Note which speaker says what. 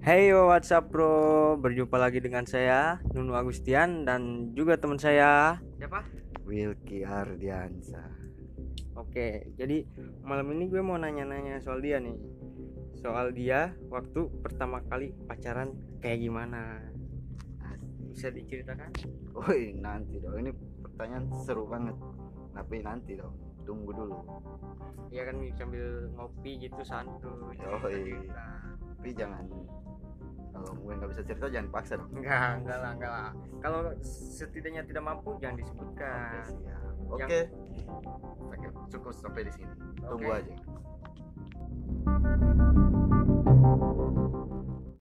Speaker 1: Hey yo, what's up bro? Berjumpa lagi dengan saya Nunu Agustian dan juga teman saya siapa?
Speaker 2: Wilki Ardiansa
Speaker 1: Oke, jadi malam ini gue mau nanya-nanya soal dia nih. Soal dia waktu pertama kali pacaran kayak gimana? Bisa diceritakan?
Speaker 2: Woi nanti dong ini pertanyaan seru banget Tapi nanti dong tunggu dulu
Speaker 1: Ya kan sambil ngopi gitu santuy.
Speaker 2: Yoi. Tapi jangan kalau gue nggak bisa cerita jangan paksa dong
Speaker 1: Enggak, enggak lah, enggak lah. Kalau setidaknya tidak mampu jangan
Speaker 2: Oke
Speaker 1: disebutkan.
Speaker 2: siap.
Speaker 1: Nah, Yang-
Speaker 2: Oke Oke, cukup sampai di sini Tunggu
Speaker 1: Oke.
Speaker 2: aja